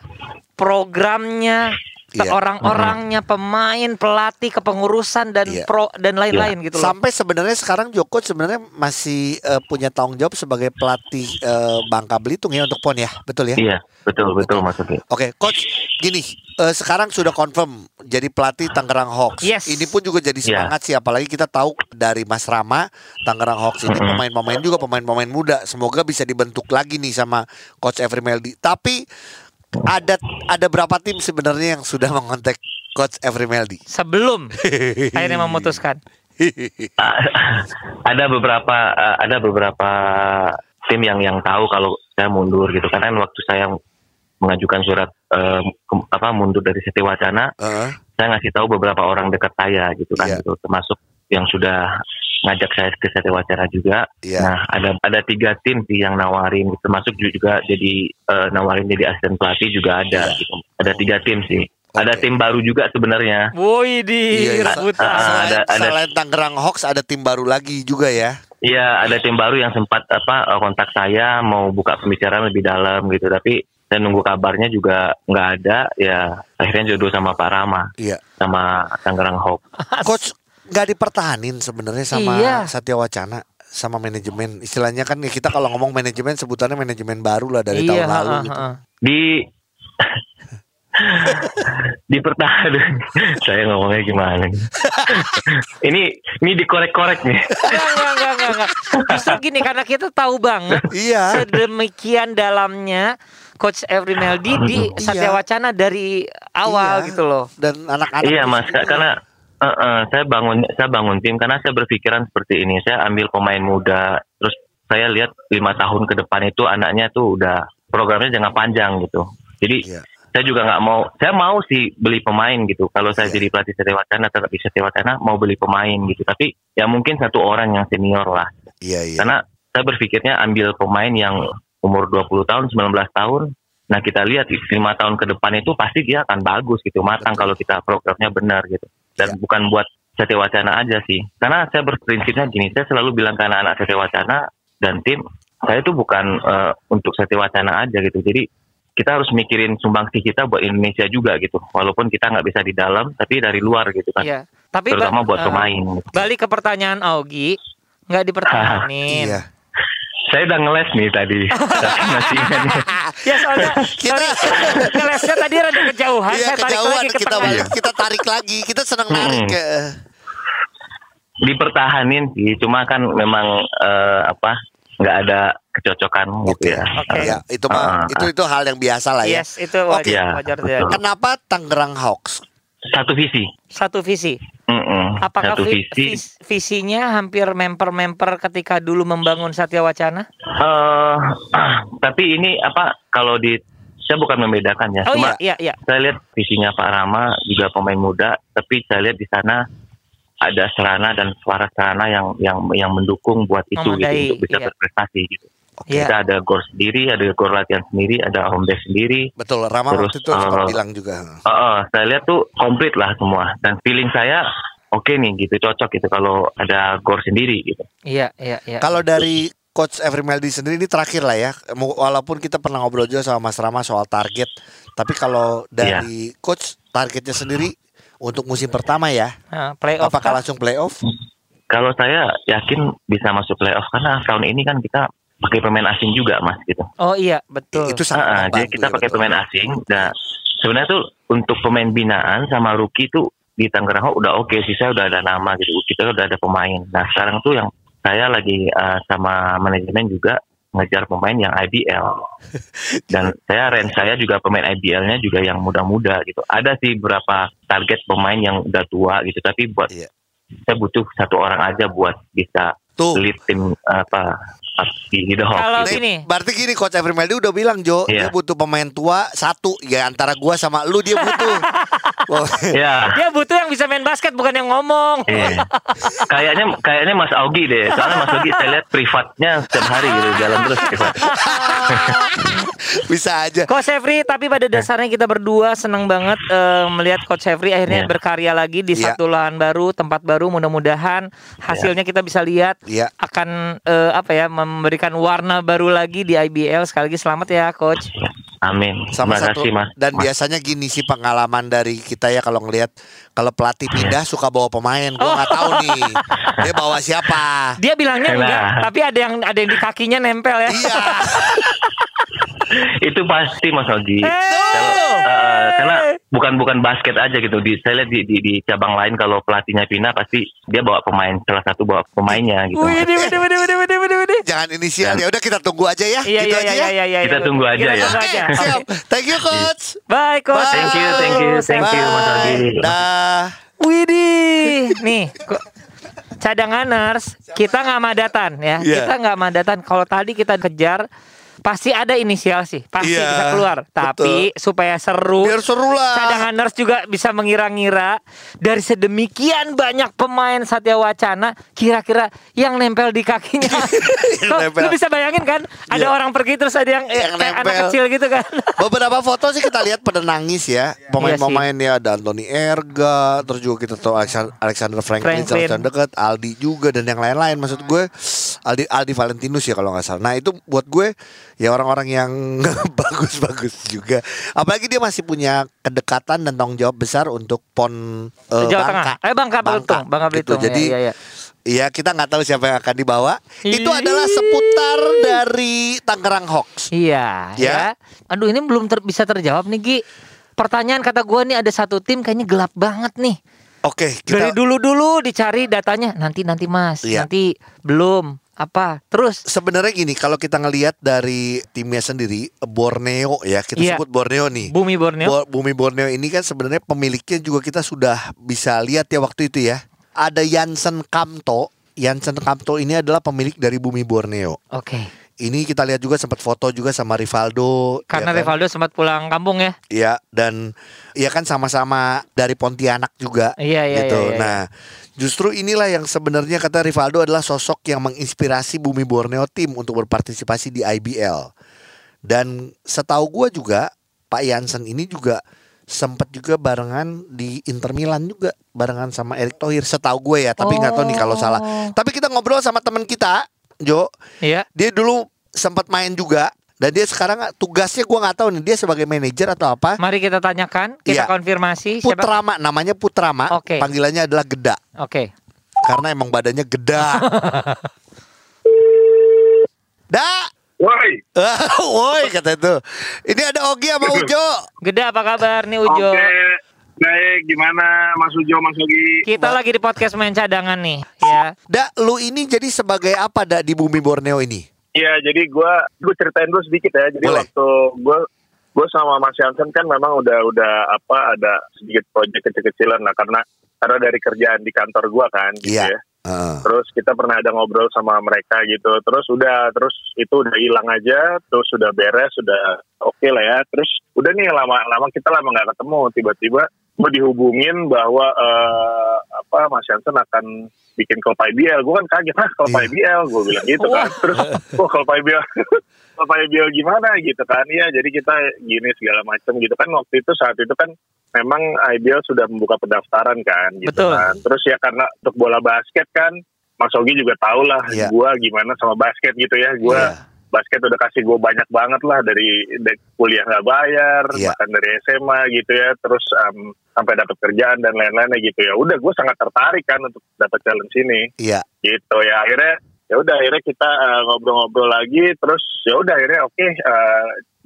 Speaker 1: programnya
Speaker 2: Iya.
Speaker 1: orang-orangnya pemain pelatih kepengurusan dan
Speaker 2: Iya.
Speaker 1: pro dan lain-lain gitu loh
Speaker 2: Sampai sebenarnya sekarang Joko sebenarnya masih eh, punya tanggung jawab sebagai pelatih eh, Bangka Belitung ya untuk PON ya, betul ya?
Speaker 4: Iya, betul betul maksudnya.
Speaker 2: Oke, coach gini, eh, sekarang sudah confirm jadi pelatih Tangerang Hawks.
Speaker 1: Yes.
Speaker 2: Ini pun juga jadi
Speaker 4: Iya.
Speaker 2: semangat sih apalagi kita tahu dari Mas Rama Tangerang Hawks ini
Speaker 4: Mm-mm.
Speaker 2: pemain-pemain juga pemain-pemain muda. Semoga bisa dibentuk lagi nih sama coach Every Meldi. Tapi ada ada berapa tim sebenarnya yang sudah mengontak coach Every Meldi?
Speaker 1: sebelum
Speaker 2: Iya,
Speaker 1: akhirnya memutuskan
Speaker 4: Ah, ada beberapa ah, ada beberapa tim yang yang tahu kalau saya mundur gitu karena waktu saya mengajukan surat eh, ke- apa mundur dari Siti Wacana
Speaker 2: Heeh.
Speaker 4: saya ngasih tahu beberapa orang dekat saya gitu kan
Speaker 2: Iya.
Speaker 4: gitu termasuk yang sudah ngajak saya ke Siti Wacana juga
Speaker 2: Iya.
Speaker 4: nah ada ada tiga tim sih yang nawarin termasuk juga jadi eh, nawarin jadi asisten pelatih juga ada
Speaker 2: Iya.
Speaker 4: gitu. ada tiga tim sih ada
Speaker 2: Oke.
Speaker 4: tim baru juga sebenarnya
Speaker 1: woi di
Speaker 2: Iya, iya.
Speaker 1: rebutan
Speaker 4: Ah,
Speaker 2: Selain,
Speaker 4: ada- ada-
Speaker 2: selain Tangerang Hawks ada tim baru lagi juga ya.
Speaker 4: Iya, ada tim baru yang sempat apa eh, kontak saya mau buka pembicaraan lebih dalam gitu, tapi saya nunggu kabarnya juga nggak ada, ya akhirnya jodoh sama Pak Rama,
Speaker 2: Iya.
Speaker 4: sama Tangerang Hawk.
Speaker 2: Coach nggak dipertahanin sebenarnya sama
Speaker 1: Iya.
Speaker 2: Satya Wacana sama manajemen. Istilahnya kan ya kita kalau ngomong manajemen sebutannya manajemen baru lah dari tahun
Speaker 1: iya
Speaker 2: lalu
Speaker 1: ha,
Speaker 2: gitu.
Speaker 1: ha, ha.
Speaker 4: Di dipertahankan. saya ngomongnya gimana? nih? ini ini dikorek-korek nih.
Speaker 1: Enggak, enggak, enggak, enggak, enggak. Justru gini karena kita tahu banget
Speaker 2: Iya.
Speaker 1: sedemikian dalamnya Coach Every Meldi di
Speaker 2: Iya.
Speaker 1: Satya Wacana dari awal
Speaker 2: Iya.
Speaker 1: gitu loh.
Speaker 2: Dan anak-anak
Speaker 4: Iya
Speaker 2: juga
Speaker 4: mas,
Speaker 2: gitu.
Speaker 4: karena eh, eh, saya bangun saya bangun tim karena saya berpikiran seperti ini. Saya ambil pemain muda, terus saya lihat lima tahun ke depan itu anaknya tuh udah programnya jangka panjang gitu. Jadi
Speaker 2: Iya.
Speaker 4: saya juga nggak mau, saya mau sih beli pemain gitu. Kalau saya
Speaker 2: Iya.
Speaker 4: jadi pelatih Satya Wacana, tetap di Satya Wacana mau beli pemain gitu. Tapi ya mungkin satu orang yang senior lah.
Speaker 2: Iya, iya.
Speaker 4: Karena saya berpikirnya ambil pemain yang umur 20 tahun, 19 tahun. Nah kita lihat lima tahun ke depan itu pasti dia akan bagus gitu, matang
Speaker 2: Betul.
Speaker 4: kalau kita programnya benar gitu. Dan
Speaker 2: Iya.
Speaker 4: bukan buat Satya Wacana aja sih. Karena saya berprinsipnya gini, saya selalu bilang ke anak-anak Satya Wacana dan tim, saya itu bukan eh, untuk Satya Wacana aja gitu. Jadi kita harus mikirin sumbangsih kita buat Indonesia juga gitu. Walaupun kita nggak bisa di dalam, tapi dari luar gitu kan.
Speaker 1: Iya. Tapi ba-
Speaker 4: Terutama buat
Speaker 1: eh,
Speaker 4: pemain.
Speaker 1: Balik ke pertanyaan Augie, nggak dipertahanin.
Speaker 2: Iya.
Speaker 4: Saya udah ngeles nih tadi. Tapi masih ingat nih.
Speaker 1: Ya soalnya
Speaker 2: Kita-
Speaker 1: sorry, ngelesnya tadi rada kejauhan,
Speaker 2: Iya,
Speaker 1: saya tarik
Speaker 2: kejauhan
Speaker 1: lagi ke
Speaker 2: kita
Speaker 1: tengah.
Speaker 2: balik, kita tarik lagi. Kita senang narik ya.
Speaker 4: Mm-mm.
Speaker 2: ke
Speaker 4: dipertahanin sih cuma kan memang eh, apa nggak ada kecocokan gitu ya
Speaker 1: Oke.
Speaker 2: Ya, itu mah
Speaker 4: Ah.
Speaker 2: itu itu hal yang biasa lah ya.
Speaker 1: Yes, itu
Speaker 2: Oke.
Speaker 1: wajar,
Speaker 4: Iya,
Speaker 1: wajar
Speaker 4: betul.
Speaker 1: terjadi.
Speaker 2: Kenapa Tangerang Hawks?
Speaker 4: satu visi.
Speaker 1: Satu visi.
Speaker 4: Mm-mm,
Speaker 1: Apakah
Speaker 4: satu
Speaker 1: vi-
Speaker 4: visi.
Speaker 1: vis- visinya hampir memper-memper ketika dulu membangun Satya Wacana?
Speaker 4: Eh, tapi ini apa kalau di saya bukan membedakan ya.
Speaker 1: Oh
Speaker 4: cuma
Speaker 1: iya, iya, iya.
Speaker 4: saya lihat visinya Pak Rama juga pemain muda, tapi saya lihat di sana ada sarana dan suara sarana yang yang yang mendukung buat itu
Speaker 1: Memadai,
Speaker 4: gitu untuk bisa
Speaker 1: iya.
Speaker 4: berprestasi gitu.
Speaker 1: Iya.
Speaker 4: Kita ada gor sendiri, ada gor latihan sendiri, ada home base sendiri.
Speaker 2: Betul, Rama
Speaker 4: Terus,
Speaker 2: waktu itu sempat
Speaker 4: eh,
Speaker 2: bilang juga.
Speaker 4: Eh, eh, saya lihat tuh komplit lah semua dan feeling saya oke nih gitu cocok gitu kalau ada gor sendiri gitu.
Speaker 1: Iya, iya, iya.
Speaker 2: Kalau dari Coach Every Meldi sendiri ini terakhir lah ya. Mu- Walaupun kita pernah ngobrol juga sama Mas Rama soal target, tapi kalau dari
Speaker 4: Iya.
Speaker 2: Coach targetnya sendiri untuk musim pertama ya,
Speaker 1: Nah, playoff
Speaker 2: apakah
Speaker 1: kah?
Speaker 2: langsung playoff?
Speaker 4: Kalau saya yakin bisa masuk playoff karena tahun ini kan kita pakai pemain asing juga mas gitu.
Speaker 1: Oh iya, betul.
Speaker 2: Itu sangat
Speaker 4: Ah, ah, jadi
Speaker 2: membantu
Speaker 4: kita
Speaker 2: ya,
Speaker 4: pakai
Speaker 2: betul.
Speaker 4: pemain asing. Nah sebenarnya tuh untuk pemain binaan sama rookie tuh di Tangerang Hawk udah oke sih saya udah ada nama gitu. Kita udah ada pemain. Nah sekarang tuh yang saya lagi eh, sama manajemen juga ngejar pemain yang IBL dan saya range saya juga pemain IBL-nya juga yang muda-muda gitu. Ada sih beberapa target pemain yang udah tua gitu tapi buat
Speaker 2: Iya.
Speaker 4: saya butuh satu orang aja buat bisa
Speaker 2: Tuh.
Speaker 4: lead tim apa di The Hawk.
Speaker 1: Kalau
Speaker 4: gitu.
Speaker 1: gini,
Speaker 2: Berarti gini Coach Every Meldi udah bilang Jo, dia
Speaker 4: Iya.
Speaker 2: butuh pemain tua satu ya antara gua sama lu dia butuh. Wow.
Speaker 4: Ya.
Speaker 1: dia butuh yang bisa main basket bukan yang ngomong.
Speaker 4: Iya. kayaknya kayaknya Mas Augi deh. Soalnya Mas Augi saya lihat privatnya setiap hari gitu jalan terus privat.
Speaker 2: Bisa aja.
Speaker 1: Coach Every, tapi pada dasarnya kita berdua senang banget eh, melihat Coach Every akhirnya
Speaker 4: Iya.
Speaker 1: berkarya lagi di
Speaker 2: Iya.
Speaker 1: satu lahan baru, tempat baru. Mudah-mudahan hasilnya kita bisa lihat
Speaker 2: Iya.
Speaker 1: akan eh, apa ya memberikan warna baru lagi di IBL. Sekali lagi selamat ya, Coach.
Speaker 4: Amin.
Speaker 2: sama
Speaker 4: Terima
Speaker 2: satu
Speaker 4: kasih Mas.
Speaker 2: dan
Speaker 4: Mas.
Speaker 2: biasanya gini sih pengalaman dari kita ya kalau ngelihat kalau
Speaker 4: Iya.
Speaker 2: pelatih pindah suka bawa pemain gua
Speaker 1: Oh.
Speaker 2: nggak tahu nih dia bawa siapa
Speaker 1: Dia bilangnya
Speaker 4: Elah.
Speaker 1: enggak, tapi ada yang ada yang di kakinya nempel ya.
Speaker 2: iya
Speaker 4: itu pasti Mas
Speaker 1: Hey!
Speaker 4: Augi. Kalau, eh, karena bukan bukan basket aja gitu. Di, saya lihat di, di, di cabang lain kalau pelatihnya pindah pasti dia bawa pemain salah satu bawa pemainnya gitu.
Speaker 1: Wih, wih, wih, wih, wih, wih, wih, wih.
Speaker 2: jangan inisial ya udah kita tunggu aja ya
Speaker 1: Iya,
Speaker 2: gitu
Speaker 1: iya,
Speaker 2: aja
Speaker 1: iya,
Speaker 2: ya
Speaker 1: iya, iya.
Speaker 4: Kita
Speaker 1: iya.
Speaker 4: tunggu aja
Speaker 1: Kita
Speaker 4: ya.
Speaker 1: tunggu
Speaker 2: oke
Speaker 1: aja.
Speaker 2: siap thank you coach
Speaker 1: Bye, Coach.
Speaker 4: Thank you, thank you, Iya. thank you, Mas Aldi.
Speaker 2: Bye. dah
Speaker 1: Widih, nih kok cadanganers kita nggak madatan ya,
Speaker 2: Iya.
Speaker 1: kita nggak madatan. Kalau tadi kita kejar pasti ada inisial sih, pasti
Speaker 2: Iya,
Speaker 1: bisa keluar. Tapi supaya seru,
Speaker 2: biar seru lah
Speaker 1: cadanganers juga bisa mengira-ngira dari sedemikian banyak pemain Satya Wacana, kira-kira yang nempel di kakinya. Kok,
Speaker 2: nempel.
Speaker 1: lu bisa bayangin kan? Ada
Speaker 2: Iya.
Speaker 1: orang pergi terus ada yang, eh,
Speaker 2: Yang
Speaker 1: kayak anak
Speaker 2: nempel.
Speaker 1: kecil gitu kan?
Speaker 2: Beberapa foto sih kita lihat pada nangis ya
Speaker 1: Iya.
Speaker 2: Pemain-pemainnya ada Anthony Erga Terus juga kita tahu Alexan- Alexander Franklin,
Speaker 1: Franklin.
Speaker 2: Sebastian Dekat Aldi juga dan yang lain-lain Maksud gue Aldi Aldi Valentinus ya kalau nggak salah Nah itu buat gue Ya orang-orang yang bagus-bagus juga Apalagi dia masih punya kedekatan dan tanggung jawab besar Untuk PON eh,
Speaker 1: Jawa
Speaker 2: Bangka
Speaker 1: Tengah. Eh Bangka Belitung, Bangka
Speaker 2: gitu.
Speaker 1: Belitung. ya,
Speaker 2: Jadi
Speaker 1: ya, ya.
Speaker 2: Iya kita nggak tahu siapa yang akan dibawa Itu
Speaker 1: Ih.
Speaker 2: adalah seputar dari Tangerang Hawks
Speaker 1: Iya,
Speaker 2: Ya.
Speaker 1: ya. Aduh ini belum ter- bisa terjawab nih Gi. Pertanyaan kata gua nih ada satu tim kayaknya gelap banget nih.
Speaker 2: Oke
Speaker 1: Dari
Speaker 2: kita
Speaker 1: dulu-dulu dicari datanya, nanti nanti Mas,
Speaker 2: Iya.
Speaker 1: nanti belum apa. Terus
Speaker 2: sebenarnya gini kalau kita ngelihat dari timnya sendiri Borneo ya kita
Speaker 1: Iya.
Speaker 2: sebut Borneo nih
Speaker 1: Bumi Borneo.
Speaker 2: Bo- Bumi Borneo ini kan sebenarnya pemiliknya juga kita sudah bisa lihat ya waktu itu ya ada Yansen Kamto Yansen Kamto ini adalah pemilik dari Bumi Borneo
Speaker 1: Oke.
Speaker 2: ini kita lihat juga sempat foto juga sama Rivaldo ya
Speaker 1: Karena
Speaker 2: kan?
Speaker 1: Rivaldo sempat pulang kampung ya.
Speaker 2: ya dan ya kan sama-sama dari Pontianak juga
Speaker 1: Iya iya
Speaker 2: gitu.
Speaker 1: iya. iya.
Speaker 2: Nah, justru inilah yang sebenarnya kata Rivaldo adalah sosok yang menginspirasi Bumi Borneo tim untuk berpartisipasi di IBL. Dan setahu gua juga Pak Yansen ini juga sempat juga barengan di Inter Milan juga barengan sama Erick Thohir setahu gue ya, tapi nggak tahu nih kalau salah.
Speaker 1: Oh.
Speaker 2: Tapi kita ngobrol sama teman kita, Jo.
Speaker 1: Iya.
Speaker 2: Dia dulu sempat main juga dan dia sekarang tugasnya gua nggak tahu nih dia sebagai manajer atau apa.
Speaker 1: Mari kita tanyakan, kita
Speaker 2: Iya.
Speaker 1: konfirmasi siapa.
Speaker 2: Putrama namanya Putrama,
Speaker 1: Oke.
Speaker 2: panggilannya adalah Geda.
Speaker 1: Oke.
Speaker 2: Karena emang badannya geda. da,
Speaker 5: Woi,
Speaker 2: woi kata itu. Ini ada Ogi sama
Speaker 5: Gitu.
Speaker 2: Ujo.
Speaker 1: Geda apa kabar nih
Speaker 5: oke.
Speaker 1: Ujo?
Speaker 5: Baik, gimana Mas Ujo, Mas Ogi?
Speaker 1: Kita lagi di podcast main cadangan nih, ya.
Speaker 2: Da, lu ini jadi sebagai apa da di bumi Borneo ini?
Speaker 5: Iya, jadi gua gua ceritain dulu sedikit ya. Jadi
Speaker 2: Boleh.
Speaker 5: waktu gua gue sama Mas Jansen kan memang udah udah apa ada sedikit proyek kecil-kecilan lah karena karena dari kerjaan di kantor gue kan gitu
Speaker 2: Iya.
Speaker 5: ya.
Speaker 2: Heeh.
Speaker 5: Terus kita pernah ada ngobrol sama mereka gitu. Terus udah terus itu udah hilang aja, terus sudah beres, sudah oke lah ya. Terus udah nih lama-lama kita lama nggak ketemu tiba-tiba gue dihubungin bahwa eh, apa Mas Jansen akan bikin klub IBL. Gue kan kaget, "Hah, klub IBL?" Gue bilang gitu kan. Terus, "Wah, klub IBL." klub IBL gimana gitu kan. Iya, jadi kita gini segala macam gitu kan waktu itu saat itu kan memang IBL sudah membuka pendaftaran kan gitu
Speaker 1: Betul.
Speaker 5: kan. Terus ya karena untuk bola basket kan Mas Ogi juga tau lah
Speaker 2: Iya.
Speaker 5: gua gimana sama basket gitu ya. Gua
Speaker 2: Iya.
Speaker 5: basket udah kasih gue banyak banget lah dari, dari kuliah nggak bayar,
Speaker 2: Iya.
Speaker 5: bahkan dari SMA gitu ya. Terus em, sampai dapat kerjaan dan lain-lainnya gitu ya. Udah gue sangat tertarik kan untuk dapat challenge ini
Speaker 2: Iya.
Speaker 5: gitu ya akhirnya ya udah akhirnya kita eh, ngobrol-ngobrol lagi terus ya udah akhirnya oke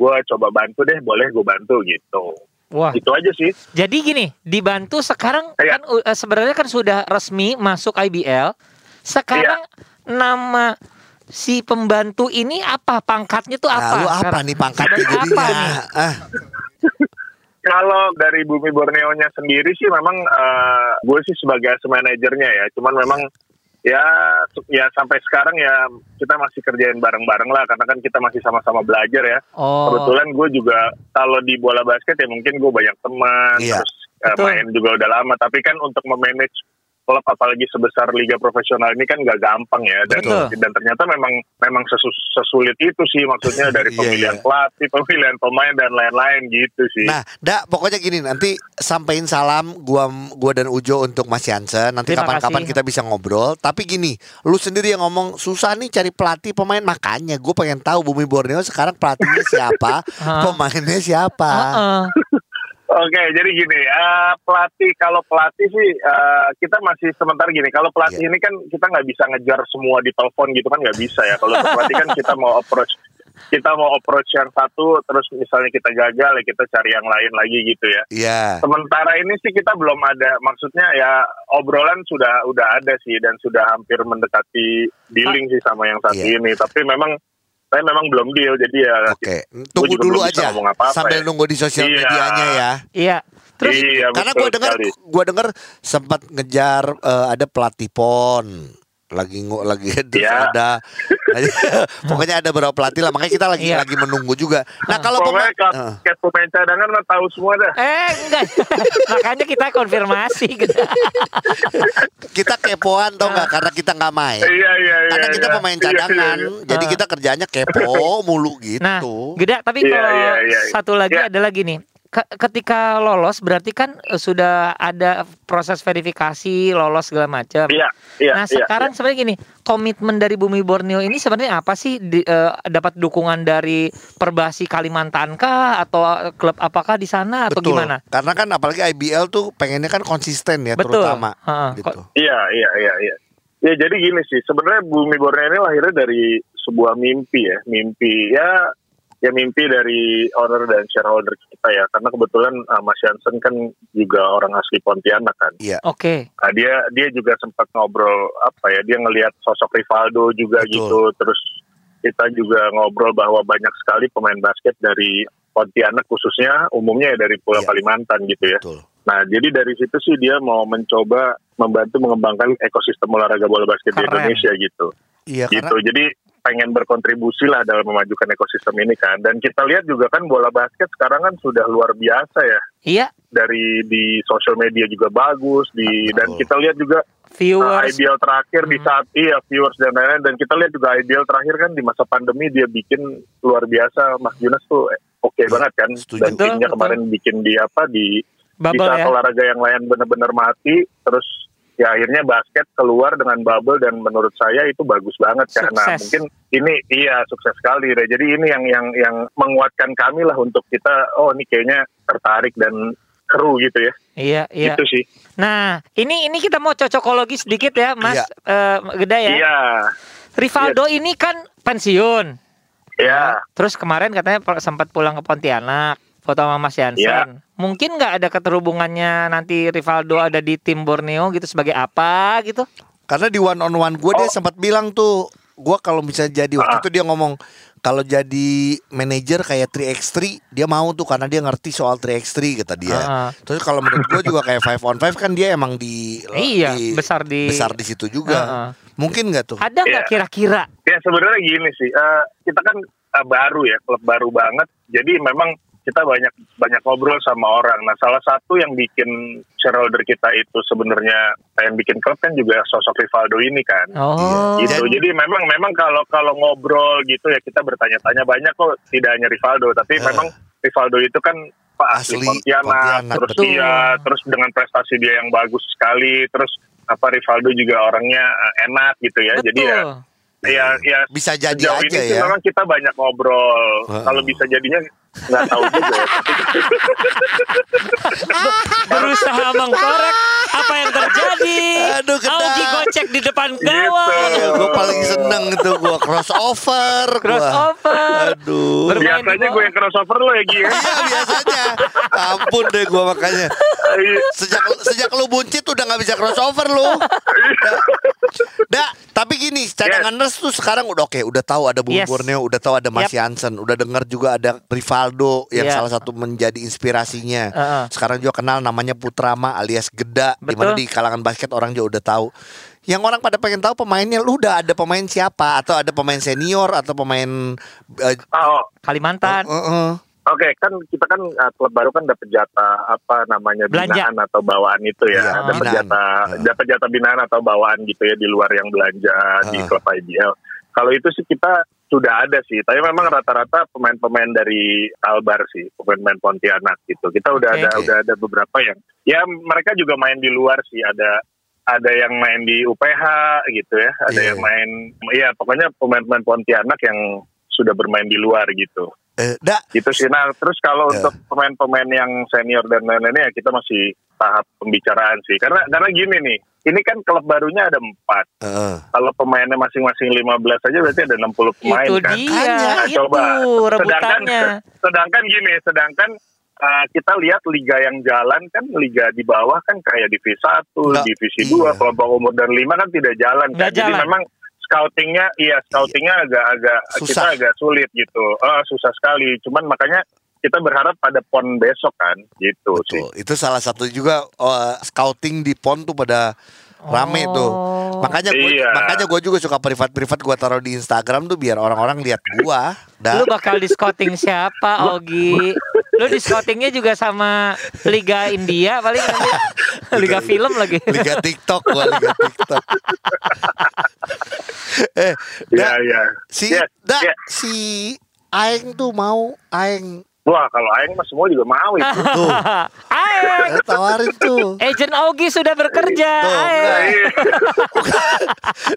Speaker 5: gue coba bantu deh boleh gue bantu gitu
Speaker 1: Wah.
Speaker 5: gitu aja sih
Speaker 1: Jadi gini, dibantu sekarang
Speaker 5: Iya.
Speaker 1: kan uh, sebenarnya kan sudah resmi masuk IBL. Sekarang
Speaker 5: Iya.
Speaker 1: nama si pembantu ini apa pangkatnya tuh apa?
Speaker 2: Lalu Nah, apa
Speaker 1: sekarang?
Speaker 2: nih pangkatnya
Speaker 1: Sebagai
Speaker 2: jadinya?
Speaker 1: apa nih?
Speaker 2: Ah,
Speaker 5: kalau dari bumi Borneo-nya sendiri sih memang eh, gue sih sebagai as manajernya ya cuman memang ya ya sampai sekarang ya kita masih kerjain bareng-bareng lah karena kan kita masih sama-sama belajar ya
Speaker 1: Oh.
Speaker 5: kebetulan gue juga kalau di bola basket ya mungkin gue banyak teman
Speaker 2: Iya.
Speaker 5: terus eh,
Speaker 1: Betul.
Speaker 5: main juga udah lama tapi kan untuk memanage klub apalagi sebesar liga profesional ini kan nggak gampang ya dan
Speaker 1: Betul.
Speaker 5: dan ternyata memang memang sesu- sesulit itu sih maksudnya dari
Speaker 2: Iya,
Speaker 5: pemilihan
Speaker 2: iya.
Speaker 5: pelatih pemilihan pemain dan lain-lain gitu sih
Speaker 2: Nah, dak pokoknya gini nanti sampein salam gua gua dan Ujo untuk Mas Jansen. Nanti
Speaker 1: Terima
Speaker 2: kapan-kapan
Speaker 1: kasih.
Speaker 2: kita bisa ngobrol. Tapi gini, lu sendiri yang ngomong susah nih cari pelatih pemain makanya gue pengen tahu Bumi Borneo sekarang pelatihnya siapa,
Speaker 1: Hah?
Speaker 2: pemainnya siapa.
Speaker 1: Heeh.
Speaker 5: Oke, jadi gini, eh, pelatih kalau pelatih sih eh, kita masih sementara gini. Kalau pelatih
Speaker 2: Iya.
Speaker 5: ini kan kita nggak bisa ngejar semua di telepon gitu kan nggak bisa ya. Kalau untuk pelatih kan kita mau approach, kita mau approach yang satu, terus misalnya kita gagal ya kita cari yang lain lagi gitu ya.
Speaker 2: Iya.
Speaker 5: Sementara ini sih kita belum ada, maksudnya ya obrolan sudah udah ada sih dan sudah hampir mendekati dealing sih sama yang satu
Speaker 2: Iya.
Speaker 5: ini. Tapi memang saya memang belum deal, jadi ya
Speaker 2: Oke, tunggu
Speaker 5: juga
Speaker 2: dulu
Speaker 5: belum bisa
Speaker 2: aja
Speaker 5: ngomong apa-apa
Speaker 2: sambil
Speaker 5: ya.
Speaker 2: nunggu di sosial
Speaker 5: Iya.
Speaker 2: medianya ya.
Speaker 1: Iya. Terus
Speaker 5: iya,
Speaker 2: Karena
Speaker 5: betul
Speaker 2: gue dengar
Speaker 5: sekali.
Speaker 2: gua dengar sempat ngejar eh, ada pelatih pon lagi ngu- lagi terus
Speaker 5: Iya.
Speaker 2: ada Nah, iya. pokoknya ada beberapa pelatih lah makanya kita lagi
Speaker 1: Iya.
Speaker 2: lagi menunggu juga. Nah kalau pemain
Speaker 5: Pokoknya kalau
Speaker 2: Heeh.
Speaker 5: kayak pemain cadangan mah tahu semua dah.
Speaker 1: eh enggak. Makanya kita konfirmasi gitu.
Speaker 2: kita kepoan tau nggak karena kita nggak main.
Speaker 5: Iya iya iya.
Speaker 2: Eh. Karena kita
Speaker 5: iya.
Speaker 2: pemain
Speaker 5: Iya, iya,
Speaker 2: cadangan,
Speaker 5: iya.
Speaker 2: jadi kita kerjanya kepo mulu gitu.
Speaker 1: Nah, Geda, tapi
Speaker 5: Iya,
Speaker 1: kalau
Speaker 5: iya, iya.
Speaker 1: satu lagi
Speaker 5: Iya.
Speaker 1: adalah gini. ke- Ketika lolos berarti kan eh, sudah ada proses verifikasi lolos segala macam.
Speaker 5: Iya iya.
Speaker 1: nah
Speaker 5: iya,
Speaker 1: sekarang sebenarnya gini komitmen dari Bumi Borneo ini sebenarnya apa sih Di- eh, dapat dukungan dari Perbasi Kalimantan kah atau eh, klub apakah di sana atau
Speaker 2: Betul.
Speaker 1: gimana?
Speaker 2: Karena kan apalagi IBL tuh pengennya kan konsisten ya
Speaker 1: Betul.
Speaker 2: terutama.
Speaker 1: Heeh.
Speaker 2: Gitu.
Speaker 5: Iya iya iya iya. Ya jadi gini sih, sebenarnya Bumi Borneo ini lahirnya dari sebuah mimpi ya, mimpi ya ya mimpi dari owner dan shareholder kita ya, karena kebetulan eh, Mas Jansen kan juga orang asli Pontianak kan.
Speaker 2: Iya.
Speaker 1: Oke.
Speaker 5: Nah, dia dia juga sempat ngobrol apa ya dia ngelihat sosok Rivaldo juga
Speaker 2: Betul.
Speaker 5: gitu terus kita juga ngobrol bahwa banyak sekali pemain basket dari Pontianak khususnya umumnya ya dari Pulau
Speaker 2: Iya.
Speaker 5: Kalimantan gitu ya.
Speaker 2: Betul.
Speaker 5: Nah jadi dari situ sih dia mau mencoba membantu mengembangkan ekosistem olahraga bola basket di
Speaker 1: Keren.
Speaker 5: Indonesia gitu
Speaker 2: Iya karena
Speaker 5: gitu. Jadi pengen berkontribusi lah dalam memajukan ekosistem ini kan. Dan kita lihat juga kan bola basket sekarang kan sudah luar biasa ya
Speaker 1: Iya,
Speaker 5: dari di sosial media juga bagus di dan kita lihat juga uh,
Speaker 1: viewers. Hmm.
Speaker 5: IBL terakhir di saat iya viewers dan lain-lain dan kita lihat juga IBL terakhir kan di masa pandemi dia bikin luar biasa Mas Junas tuh eh, oke banget kan
Speaker 2: setuju.
Speaker 5: dan
Speaker 1: Betul,
Speaker 5: timnya
Speaker 1: betul.
Speaker 5: kemarin bikin di apa di di
Speaker 1: Bubble
Speaker 5: saat
Speaker 1: ya.
Speaker 5: olahraga yang lain benar-benar mati terus ya akhirnya basket keluar dengan bubble dan menurut saya itu bagus banget
Speaker 1: Sukses.
Speaker 5: karena mungkin ini iya sukses sekali Re. jadi ini yang yang yang menguatkan kami lah untuk kita oh ini kayaknya tertarik dan seru gitu ya
Speaker 1: Iya, iya.
Speaker 5: gitu sih
Speaker 1: Nah, ini ini kita mau cocokologi sedikit ya, Mas
Speaker 2: Iya.
Speaker 1: eh, Geda ya.
Speaker 5: iya
Speaker 1: Rivaldo ini kan pensiun.
Speaker 5: iya
Speaker 1: Terus kemarin katanya per- sempat pulang ke Pontianak foto sama Mas Jansen.
Speaker 5: Iya.
Speaker 1: Mungkin nggak ada keterhubungannya nanti Rivaldo ada di tim Borneo gitu sebagai apa gitu?
Speaker 2: Karena di one on one gue dia
Speaker 5: Oh.
Speaker 2: sempat bilang tuh gue kalau bisa jadi waktu
Speaker 5: Ah.
Speaker 2: itu dia ngomong kalau jadi manajer kayak 3x3 dia mau tuh karena dia ngerti soal 3x3 kata dia.
Speaker 1: Ah.
Speaker 2: Terus kalau menurut gua juga kayak 5 on 5 kan dia emang di
Speaker 1: Iya,
Speaker 2: di-
Speaker 1: besar di-
Speaker 2: besar di situ juga.
Speaker 1: Ah.
Speaker 2: Mungkin nggak tuh?
Speaker 1: Ada nggak
Speaker 5: Iya.
Speaker 1: kira-kira?
Speaker 5: Ya sebenarnya gini sih, eh, kita kan eh, baru ya, klub baru banget. Jadi memang kita banyak banyak ngobrol sama orang. Nah salah satu yang bikin shareholder kita itu sebenarnya eh, yang bikin klub kan juga sosok Rivaldo ini kan.
Speaker 2: Iya,
Speaker 1: Oh,
Speaker 5: gitu.
Speaker 2: Dan-
Speaker 5: Jadi memang memang kalau kalau ngobrol gitu ya kita bertanya-tanya banyak kok tidak hanya Rivaldo, tapi
Speaker 2: Eh.
Speaker 5: memang Rivaldo itu kan Pak asli
Speaker 2: Asli
Speaker 5: Pontianak,
Speaker 2: Pontianak,
Speaker 5: terus
Speaker 1: betul.
Speaker 5: dia terus dengan prestasi dia yang bagus sekali, terus apa Rivaldo juga orangnya eh, enak gitu ya.
Speaker 1: betul.
Speaker 5: Jadi ya ya, ya
Speaker 2: Bisa jadi
Speaker 5: sejauh
Speaker 2: aja
Speaker 5: ini sih
Speaker 2: ya.
Speaker 5: Memang kita banyak ngobrol.
Speaker 2: Heeh.
Speaker 5: Kalau bisa jadinya nggak tahu juga. ya.
Speaker 1: Berusaha mengkorek apa yang terjadi.
Speaker 2: Aduh, kena.
Speaker 1: Augie gocek di depan
Speaker 5: Gitu.
Speaker 1: gawang.
Speaker 2: Gue paling seneng itu gue crossover. gua.
Speaker 1: Crossover.
Speaker 2: Aduh.
Speaker 1: Bermain di
Speaker 5: Biasanya
Speaker 1: bawah.
Speaker 5: gue yang crossover lo ya Gi. ya.
Speaker 2: Iya biasanya. Ampun deh gue makanya.
Speaker 5: Iya.
Speaker 2: Sejak sejak lu buncit udah nggak bisa crossover lu. Dah, tapi gini, cadangan nurse tuh sekarang udah oke, udah tahu ada Bung
Speaker 1: Yes.
Speaker 2: Borneo, udah tahu ada Mas Jansen, udah dengar juga ada Rivaldo yang
Speaker 1: Iya.
Speaker 2: salah satu menjadi inspirasinya.
Speaker 1: Heeh.
Speaker 2: Sekarang juga kenal namanya Putrama alias Geda, di mana
Speaker 1: Betul.
Speaker 2: di kalangan basket orang juga udah tahu. Yang orang pada pengen tahu pemainnya lu udah ada pemain siapa atau ada pemain senior atau pemain eh,
Speaker 5: Oh,
Speaker 1: Kalimantan.
Speaker 2: eh, eh.
Speaker 5: Oke, kan kita kan uh, klub baru kan dapat jatah apa namanya
Speaker 1: Belanja.
Speaker 5: binaan atau bawaan itu
Speaker 2: Iya,
Speaker 5: ya. dapat
Speaker 2: binaan.
Speaker 5: jatah
Speaker 2: Heeh.
Speaker 5: dapat jatah binaan atau bawaan gitu ya di luar yang belanja di
Speaker 2: Heeh.
Speaker 5: klub IBL. Kalau itu sih kita sudah ada sih, tapi memang rata-rata pemain-pemain dari Albar sih, pemain-pemain Pontianak gitu. Kita udah
Speaker 1: Oke.
Speaker 5: ada udah ada beberapa yang ya mereka juga main di luar sih, ada ada yang main di UPH gitu ya, ada
Speaker 2: Iya.
Speaker 5: yang main iya pokoknya pemain-pemain Pontianak yang sudah bermain di luar gitu
Speaker 2: Eh, Dak,
Speaker 5: gitu sih. Nah, terus kalau
Speaker 2: Ya.
Speaker 5: untuk pemain-pemain yang senior dan lain-lainnya ya kita masih tahap pembicaraan sih. Karena karena gini nih, ini kan klub barunya ada empat.
Speaker 2: Heeh.
Speaker 5: Kalau pemainnya masing-masing 15 aja berarti ada 60 pemain
Speaker 1: itu
Speaker 5: kan.
Speaker 1: dia,
Speaker 2: Makanya,
Speaker 5: Nah,
Speaker 1: itu Ah, gitu, rebutannya.
Speaker 5: Sedangkan, sedangkan gini, sedangkan uh, kita lihat liga yang jalan kan liga di bawah kan kayak divisi 1,
Speaker 2: Nggak,
Speaker 5: divisi
Speaker 2: iya.
Speaker 5: 2, kelompok umur dan 5 kan tidak jalan kan.
Speaker 1: Nggak
Speaker 5: Jadi
Speaker 1: jalan.
Speaker 5: memang scoutingnya iya scoutingnya agak-agak kita
Speaker 2: Susah.
Speaker 5: agak sulit gitu. Eh, susah sekali. Cuman makanya kita berharap pada pon besok kan gitu sih.
Speaker 2: Betul. Itu salah satu juga eh, scouting di PON tuh pada rame
Speaker 1: Oh.
Speaker 2: tuh. Makanya gue
Speaker 5: Iya.
Speaker 2: makanya gua juga suka privat-privat gua taruh di Instagram tuh biar orang-orang lihat gua. Dan
Speaker 1: Lu bakal diskoting siapa, Ogi? Lu diskotingnya juga sama Liga India paling nanti. Liga
Speaker 2: Liga-
Speaker 1: film lagi.
Speaker 2: liga TikTok gua, liga TikTok. eh, da,
Speaker 5: Iya, iya.
Speaker 2: si
Speaker 5: Yes,
Speaker 2: da,
Speaker 5: yes.
Speaker 2: si Aeng tuh mau Aeng
Speaker 5: Wah, kalau Aing mah semua juga mau itu.
Speaker 2: tuh
Speaker 1: Aeng,
Speaker 2: eh, tawarin tuh.
Speaker 1: agent Ogi sudah bekerja.
Speaker 2: Tuh,
Speaker 1: Aeng.
Speaker 5: Iya.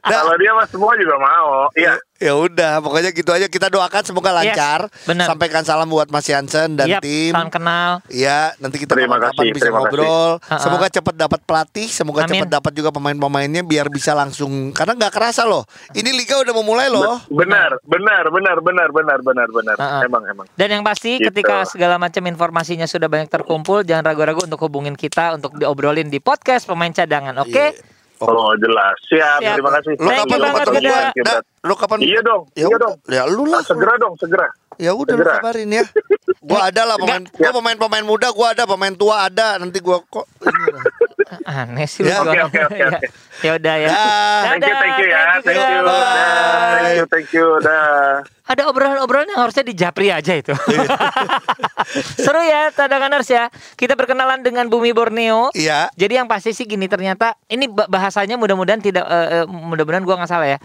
Speaker 2: Da,
Speaker 5: kalau dia mah semua juga mau. Iya.
Speaker 2: Ya udah, pokoknya gitu aja kita doakan semoga
Speaker 1: Yes,
Speaker 2: lancar.
Speaker 1: Iya, benar.
Speaker 2: Sampaikan salam buat Mas Jansen dan
Speaker 1: Yap,
Speaker 2: tim.
Speaker 1: salam kenal.
Speaker 2: Ya, nanti kita
Speaker 5: Terima
Speaker 2: kapan-kapan
Speaker 5: kasih,
Speaker 2: bisa
Speaker 5: terima
Speaker 2: ngobrol.
Speaker 1: kasih. Ha-ha.
Speaker 2: Semoga cepat dapat pelatih, semoga
Speaker 1: Amin.
Speaker 2: cepat dapat juga pemain-pemainnya biar bisa langsung karena nggak kerasa loh. Ini liga udah memulai loh.
Speaker 5: Benar, benar, benar, benar, benar, benar, benar.
Speaker 1: Ah, ah.
Speaker 5: Emang, emang.
Speaker 1: Dan yang pasti
Speaker 5: Gitu.
Speaker 1: ketika segala macam informasinya sudah banyak terkumpul, jangan ragu-ragu untuk hubungin kita untuk diobrolin di podcast pemain cadangan, oke?
Speaker 5: Oh, jelas. Siap,
Speaker 1: Siap.
Speaker 5: terima kasih.
Speaker 2: Lo
Speaker 1: Thank
Speaker 2: Iya. kapan
Speaker 1: you
Speaker 2: lu
Speaker 1: banget,
Speaker 2: ketemu
Speaker 1: Geda.
Speaker 2: gua?
Speaker 1: Bang
Speaker 5: Kita-
Speaker 2: Da, Lu kapan?
Speaker 5: Iya dong,
Speaker 2: Ya,
Speaker 5: iya dong.
Speaker 2: Ya lu lah.
Speaker 5: Segera dong, segera.
Speaker 2: Ya udah lu
Speaker 5: Segera.
Speaker 2: kabarin ya. Gua ada lah pemain gua pemain-pemain muda, gua ada pemain tua ada. Nanti gua kok ini lah.
Speaker 1: Aneh sih lu
Speaker 2: Ya,
Speaker 5: oke,
Speaker 1: jualan.
Speaker 5: oke, oke,
Speaker 1: Ya.
Speaker 5: oke.
Speaker 1: Ya udah ya.
Speaker 2: Dah.
Speaker 5: Thank you, thank you ya. Thank you.
Speaker 1: Geda.
Speaker 5: Dah. Thank you, thank you. Dah.
Speaker 1: Ada obrolan-obrolan yang harusnya di Japri aja itu.
Speaker 5: Iya.
Speaker 1: Seru ya, cadanganers ya. Kita berkenalan dengan Bumi Borneo.
Speaker 2: Iya.
Speaker 1: Jadi yang pasti sih gini ternyata ini ba- bahasanya mudah-mudahan tidak eh, eh, mudah-mudahan gua nggak salah ya.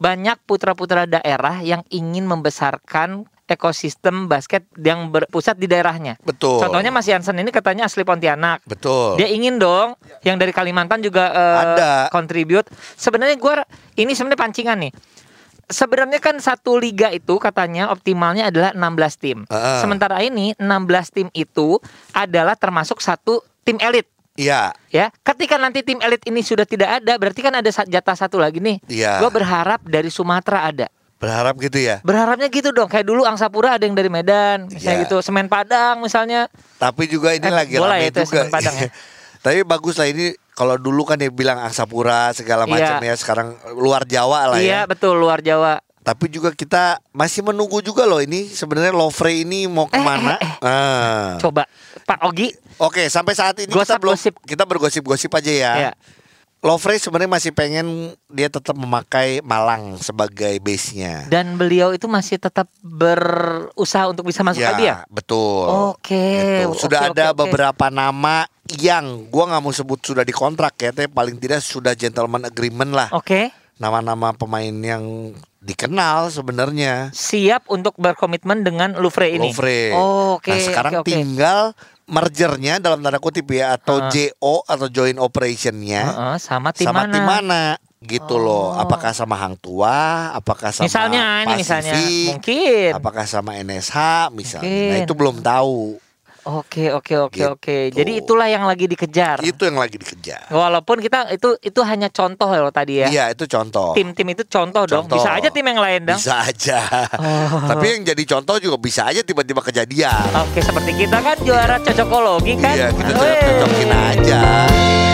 Speaker 1: Banyak putra-putra daerah yang ingin membesarkan ekosistem basket yang berpusat di daerahnya.
Speaker 2: Betul.
Speaker 1: Contohnya Mas Yansen ini katanya asli Pontianak.
Speaker 2: Betul.
Speaker 1: Dia ingin dong yang dari Kalimantan juga eh,
Speaker 2: Ada.
Speaker 1: contribute. Sebenarnya gua ini sebenarnya pancingan nih. Sebenarnya kan satu liga itu katanya optimalnya adalah 16 tim.
Speaker 2: Heeh.
Speaker 1: Sementara ini 16 tim itu adalah termasuk satu tim elit
Speaker 2: Iya.
Speaker 1: ya ketika nanti tim elit ini sudah tidak ada berarti kan ada sa- jatah satu lagi nih
Speaker 2: Iya.
Speaker 1: Gua berharap dari Sumatera ada
Speaker 2: Berharap gitu ya.
Speaker 1: berharapnya gitu dong kayak dulu Angsapura ada yang dari Medan misalnya
Speaker 2: Iya.
Speaker 1: gitu Semen Padang misalnya
Speaker 2: Tapi juga ini
Speaker 1: Eh,
Speaker 2: lagi
Speaker 1: bola
Speaker 2: rame
Speaker 1: ya itu ya,
Speaker 2: juga.
Speaker 1: Semen Padang ya.
Speaker 2: Tapi bagus lah ini kalau dulu kan dia bilang Angsapura segala
Speaker 1: Iya.
Speaker 2: macam ya sekarang luar Jawa lah
Speaker 1: iya
Speaker 2: ya.
Speaker 1: betul luar Jawa
Speaker 2: Tapi juga kita masih menunggu juga loh ini sebenarnya Lovre ini mau
Speaker 1: Eh,
Speaker 2: kemana? Ah.
Speaker 1: Coba Pak Ogi
Speaker 2: Oke, sampai saat ini kita
Speaker 1: Gosip,
Speaker 2: belum
Speaker 1: gosip.
Speaker 2: kita bergosip-gosip aja ya.
Speaker 1: Iya.
Speaker 2: Lovre sebenarnya masih pengen dia tetap memakai Malang sebagai base-nya.
Speaker 1: dan beliau itu masih tetap berusaha untuk bisa masuk
Speaker 2: ya,
Speaker 1: lagi ya?
Speaker 2: betul.
Speaker 1: Oke,
Speaker 2: Gitu.
Speaker 1: oke,
Speaker 2: Sudah
Speaker 1: oke,
Speaker 2: ada
Speaker 1: oke.
Speaker 2: beberapa nama yang gua nggak mau sebut sudah dikontrak ya, tapi paling tidak sudah gentleman agreement lah.
Speaker 1: Oke,
Speaker 2: Nama-nama pemain yang dikenal sebenarnya.
Speaker 1: siap untuk berkomitmen dengan Louvre ini. Oh,
Speaker 2: Lovre.
Speaker 1: Oke.
Speaker 2: nah, sekarang
Speaker 1: oke, oke.
Speaker 2: tinggal mergernya dalam tanda kutip ya atau
Speaker 1: Ah.
Speaker 2: JO atau joint operationnya.
Speaker 1: Heeh, sama tim
Speaker 2: sama
Speaker 1: mana?
Speaker 2: tim mana gitu
Speaker 1: Oh.
Speaker 2: loh apakah sama hang tua apakah sama
Speaker 1: misalnya ini
Speaker 2: Pasifik,
Speaker 1: misalnya mungkin.
Speaker 2: apakah sama NSH misalnya nah
Speaker 1: Mungkin.
Speaker 2: itu belum tahu
Speaker 1: Oke, oke, oke,
Speaker 2: Gitu.
Speaker 1: oke. Jadi itulah yang lagi dikejar.
Speaker 2: itu yang lagi dikejar
Speaker 1: Walaupun kita itu itu hanya contoh loh tadi ya.
Speaker 2: iya itu contoh
Speaker 1: Tim-tim itu contoh, dong.
Speaker 2: Contoh.
Speaker 1: Bisa aja tim yang lain dong.
Speaker 2: bisa aja
Speaker 1: Oh.
Speaker 2: tapi yang jadi contoh juga bisa aja tiba-tiba kejadian
Speaker 1: Oke, seperti kita kan juara cocokologi kan.
Speaker 2: iya kita
Speaker 1: Wey.
Speaker 2: cocokin aja